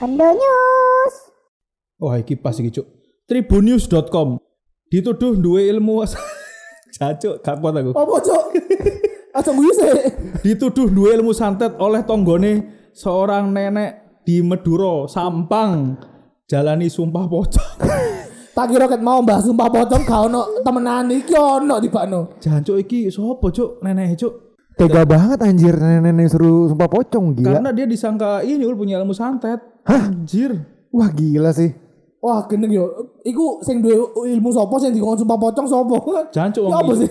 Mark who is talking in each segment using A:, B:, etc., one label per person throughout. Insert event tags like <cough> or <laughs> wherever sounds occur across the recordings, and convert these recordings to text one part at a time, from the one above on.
A: Ando News.
B: Wah, Oh, iki pas iki, Cuk. Tribunews.com dituduh duwe ilmu <laughs> jancuk gak kuat aku.
C: Apa cok? Aja guyu sih.
B: Dituduh duwe ilmu santet oleh tonggone seorang nenek di Meduro, Sampang. Jalani sumpah pocong. <laughs>
C: Tak kira ket mau mbah sumpah pocong gak ono temenan iki ono di bakno.
B: Jancuk iki sapa, Cuk? Nenek, Cuk.
D: Tega banget anjir nenek-nenek suruh sumpah pocong gila.
B: Karena dia disangka ini ul punya ilmu santet. Anjir.
D: Wah gila sih.
C: Wah, gendeng yo. Iku sing duwe ilmu sapa sing dikon sumpah pocong sapa?
B: Jancuk
C: Ya
B: wong
C: apa
B: iki.
C: sih?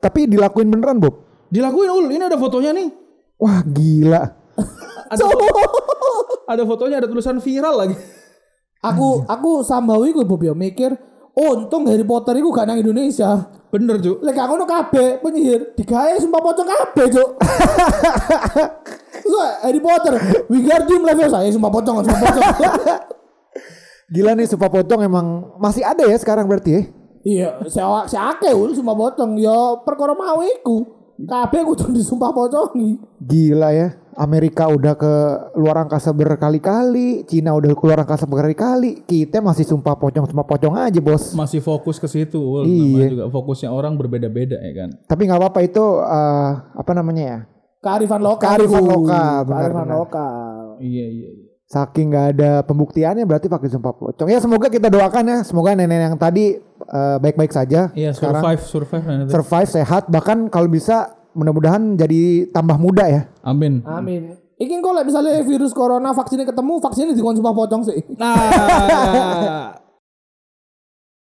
D: Tapi dilakuin beneran Bob.
B: Dilakuin ul, ini ada fotonya nih.
D: Wah gila.
B: Ada, ada fotonya, ada tulisan viral lagi. <laughs>
C: Aku aku sambawi iku Bob yo mikir, untung Harry Potter iku gak nang Indonesia.
B: Bener, Cuk.
C: Lek gak ngono kabeh penyihir digawe sumpah pocong kabeh, Cuk. Terus Harry Potter, Wingardium Leviosa, eh, sumpah pocong, sumpah pocong.
D: Gila nih sumpah pocong emang masih ada ya sekarang berarti ya.
C: iya, sewa seake ul sumpah pocong ya perkara mau iku. Kabeh kudu disumpah pocongi.
D: Gila ya. Amerika udah ke luar angkasa berkali-kali, Cina udah keluar angkasa berkali-kali, kita masih sumpah pocong sumpah pocong aja bos.
B: masih fokus ke situ. Ul.
D: Iya.
B: Namanya juga fokusnya orang berbeda-beda ya kan.
D: Tapi nggak apa-apa itu eh, apa namanya ya?
C: Kearifan lokal.
D: Kearifan
C: iku.
D: lokal, benar,
C: Kearifan
D: benar.
C: lokal.
B: Iya iya. iya.
D: Saking nggak ada pembuktiannya berarti pakai sumpah pocong. Ya semoga kita doakan ya, semoga nenek yang tadi eh, baik-baik saja.
B: Iya survive survive. nanti.
D: survive sehat bahkan kalau bisa mudah-mudahan jadi tambah muda ya
B: Amin.
C: Ah, Amin. Iki engko lek misalnya virus corona vaksinnya ketemu, vaksinnya dikon sumpah pocong sih.
B: Nah,